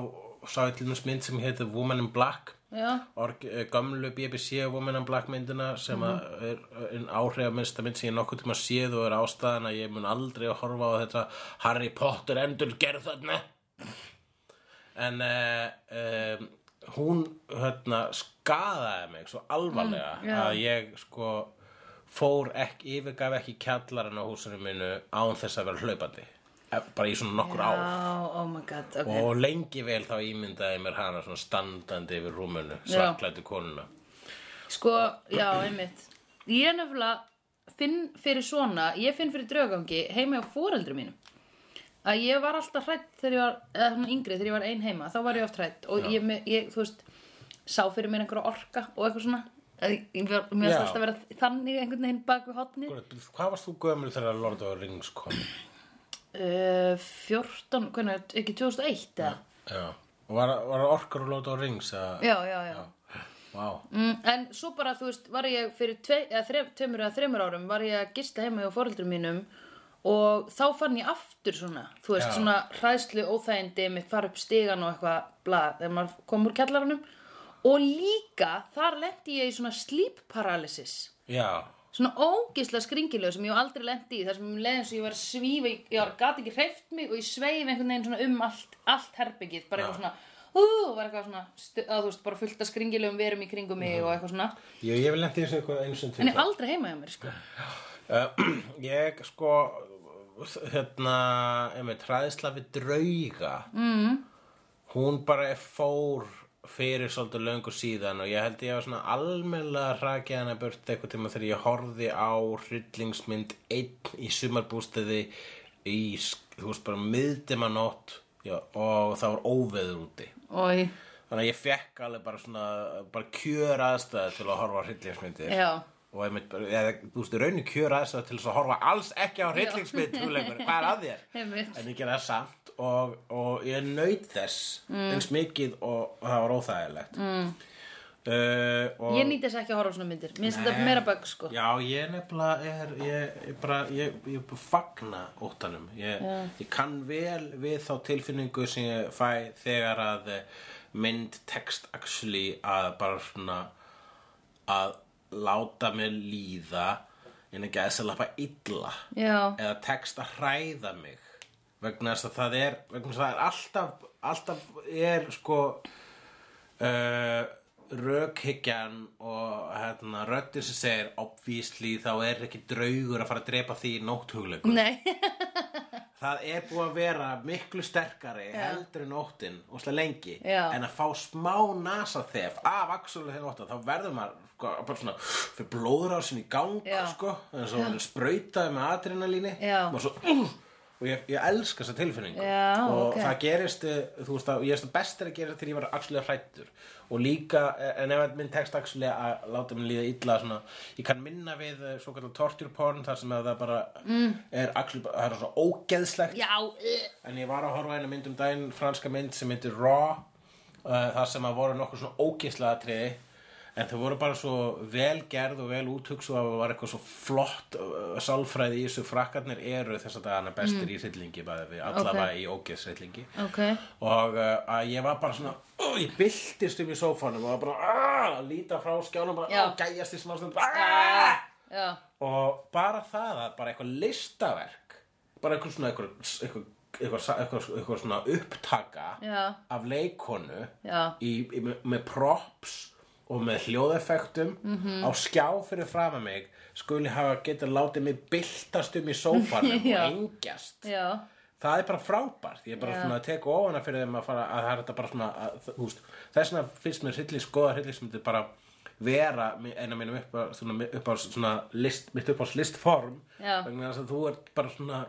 sá ég til dæmis mynd sem heitir Woman in Black.
Já,
Org, eh, gömlu BBC Woman in Black myndina sem mm
Mhm.
er einn áhrifamennsta mynd sem ég nokkuð tíma séð og er ástæðan að ég mun aldrei að horfa á þetta Harry Potter endur gerð þarna en uh, um, hún hérna skadaði mig svo alvarlega
Mm, já.
að ég sko fór ekki, yfirgaf ekki kjallarinn á húsinu mínu án þess að vera hlaupandi Eh, bara í svona nokkur ár
já, oh my god, ok
og lengi vel þá ímyndaði ég mér hana svona standandi yfir rúmunu
Já.
svarklættu konuna
Sko, já, einmitt Ég nefnilega finn fyrir svona Ég finn fyrir draugangi heima á fóreldrum mínum að ég var alltaf hrætt þegar ég var eða svona yngri, þegar ég var ein heima, þá var ég oft hrætt og ég, me- ég, þú veist sá fyrir mér einhverja orka og eitthvað svona Að ég, ég var, mér
Já. Sko.
varst alltaf að vera þannig einhvern veginn bak við hotni uh,
Hvað varst þú gömul þegar Lord of the Rings kom?
14, Eh, hvernig, ekki 2001 eða?
Já Og var, var orkar og Lord of the Rings? að-
Já, já, já,
Vá
Mm, en svo bara, þú veist, var ég fyrir tvei, eða þre, tveimur eða þreimur árum var ég að gista heima hjá fóreldrum mínum og þá fann ég aftur svona þú veist,
Já.
svona hræðslu óþægindi mitt fara upp stegan og eitthvað blað þegar maður kom úr kjallaranum og líka, þar lendi ég í svona sleep paralysis
Já
svona ógisla skringilegu sem ég hef aldrei lendi í þar sem ég leiði eins og ég var að svífa ég, ég var gat ekki hreift mig og ég sveif einhvern veginn svona um allt, allt herbyggið bara eitthvað svona, ú, var eitthvað svona stu, að, þú veist, bara fullt af skringilegum verum í kringum mig og eitthvað svona
Ég, ég vil lenti þessu eitthvað eins og
En ég er aldrei heima hjá mér, sko.
uh, Ég sko Hérna einmitt, Hræðisla við drauga mm. Hún bara fór fyrir svolítið löngu síðan og ég held ég að svona almennilega hrakið hana burt eitthvað tíma þegar ég horfði á hryllingsmynd einn í sumarbústiði í, þú veist, bara miðdimanótt já, og það var óveður úti
Ói,
Þannig að ég fekk alveg bara svona bara kjör aðstæða til að horfa á hryllingsmyndir
Já.
og einmitt, bara- eða, þú veist, raunir kjör aðstæða til þess að horfa alls ekki á hryllingsmynd hugleikur, hvað er að þér?
Einmitt.
En ég gera það samt gert og, og ég naut þess
Mm.
eins mikið og, og það var óþægilegt mm. og
Ég nýti þess ekki að horfa á svona myndir Mér finnst þetta
Nei.
meira bögg sko
Já, ég nefnilega er, ég, ég bara, ég, ég fagna óttanum. Ég, ég kann vel við þá tilfinningu sem ég fæ þegar að eh, mynd text actually að bara svona að láta mig líða en ekki að þess að lappa illa
Já,
eða text að hræða mig vegna þess að það er vegna þess að það er alltaf alltaf er sko uh, rökhyggjan og hérna röddin sem segir obvísli þá er ekki draugur að fara að drepa því í nóttugleikum
nei
það er búið að vera miklu sterkari heldur en óttin og slá lengi
Já.
en að fá smá nasa þef af axulega þegar óttin þá verður maður sko, bara svona fyrir blóðrásin í gang
Já.
sko, en svo sprautaði með adrenalíni
Já.
maður svo uh, og ég, ég elska þessa tilfinningu
Já,
og
ok.
það gerist, eh, þú veist að ég veist að best er að gera þegar ég var axulega hrættur og líka, eh, en ef minn tekst axulega að láta minn líða illa svona, ég kann minna við svo kallar torture porn þar sem að það bara mm. er axulega, það er svona ógeðslegt
Já, uh,
En ég var að horfa á einu mynd um daginn, franska mynd sem myndir Raw, uh, þar sem að voru nokkur svona ógeðslega atriði, en þau voru bara svo vel gerð og vel úthugsuð að það var eitthvað svo flott uh, sálfræði í þessu frakkarnir eru þess að dagana bestir í hryllingi, bara við allavega í ógeðshryllingi.
ok
Og uh, að ég var bara svona, uh, ég byltist um í sófanum og var bara "Ah", að líta frá skjánum, bara
Já.
"Ah", gæjast í smá stund, aaaah!
Já,
og bara það að bara eitthvað listaverk bara eitthvað svona eitthvað, eitthvað, eitthvað, eitthvað, eitthvað svona upptaka
Já.
af leikonu
Já.
í, í, með props og með hljóðeffektum
Mhm.
á skjá fyrir fram að mig skuli hafa getað látið mig byltast um í sófanum og
Já.
engjast
já,
það er bara frábært ég er bara
Já.
svona að teka ofana fyrir þeim að fara að það er þetta bara svona að, þú veist, þess vegna finnst mér hryllis, góða hryllis myndi bara vera mi- eina mínum upp á, svona, upp á svona list, mitt upp á listform
Já.
vegna þess að þú ert bara svona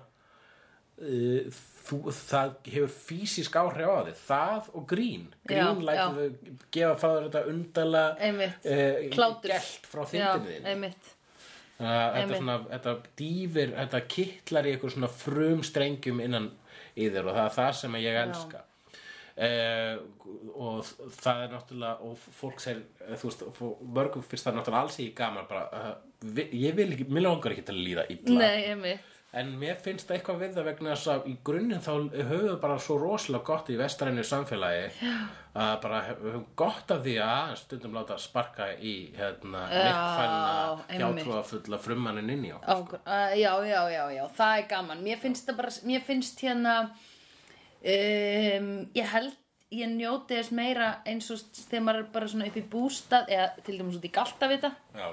uh, þú, það hefur fysisk áhrif á því það og grín grín
Já,
lætur þau gefa frá þér þetta undala eh,
Einmitt. Hlátur.
gelt frá
já,
þindinni þinni
einmitt
Uh, þetta,
Einmitt.
svona, þetta dýfir, þetta kittlar í eitthvað svona frumstrengjum innan í þér og það er það sem ég elska uh, og það er náttúrulega og fólk sér, eh, þú veist og mörgum fyrst það náttúrulega alls ekki gaman bara, uh, vi- ég vil ekki, mér langar ekki til að líða illa
Nei, einmitt
en mér finnst það eitthvað við það vegna þess að í grunninn þá höfum við bara svo rosalega gott í vestrænu samfélagi Já. að bara höfum gott af því að aðeins stundum láta sparka í hérna,
Já,
mikkfælna
einmitt.
hjátrúafulla frummannin inn í okkur
Ákvör, uh, já, já, já, já, það er gaman Mér finnst það bara, mér finnst hérna um, Ég held, ég njóti þess meira eins og þegar maður er bara svona upp í bústað eða til dæmis út í galtavita
Já.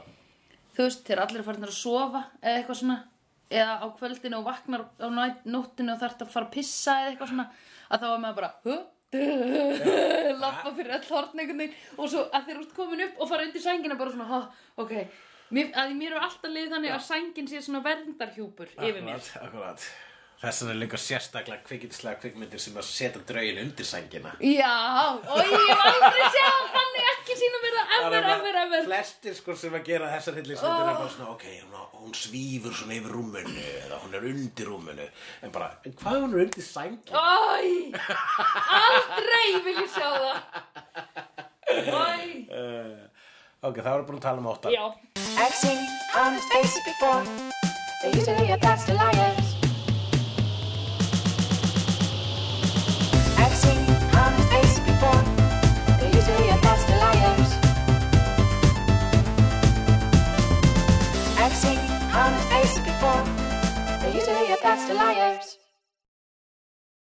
þú veist, þegar allir er farin að sofa eða eitthvað svona eða á kvöldinu og vaknar á næ- nóttinu og þarf að fara að pissa eða eitthvað svona að þá var maður bara "Huh? Duh, lappa fyrir all hortn einhvern veginn og svo að þeir út komin upp og fara undir sængina bara svona, "Ha, ok mér, að mér er alltaf liðið þannig að sængin sé svona verndarhjúpur yfir mér
Akkurat, akkurat Þess vegna er líka sérstaklega kvikindislega kvikmyndir sem að setja draugin undir sængina
Já, og ég var aldrei að sjá þannig ekki sínum mér það
Það er
ever,
bara
ever, ever
Flestir sko sem að gera þessar hillismyndir er bara svona, ok, hún, hún svífur svona yfir rúminu eða hún er undir rúminu en bara, en hvað ef hún er undir sængina?
Æ, aldrei vil ég sjá það Æ
Eh, Ok, það voru búin að tala um óttan
Já
I've seen honest faces before. They're usually a pass to liars. I've seen honest faces before. They're usually a pass to liars. I've seen honest faces before. They're usually a pass to liars.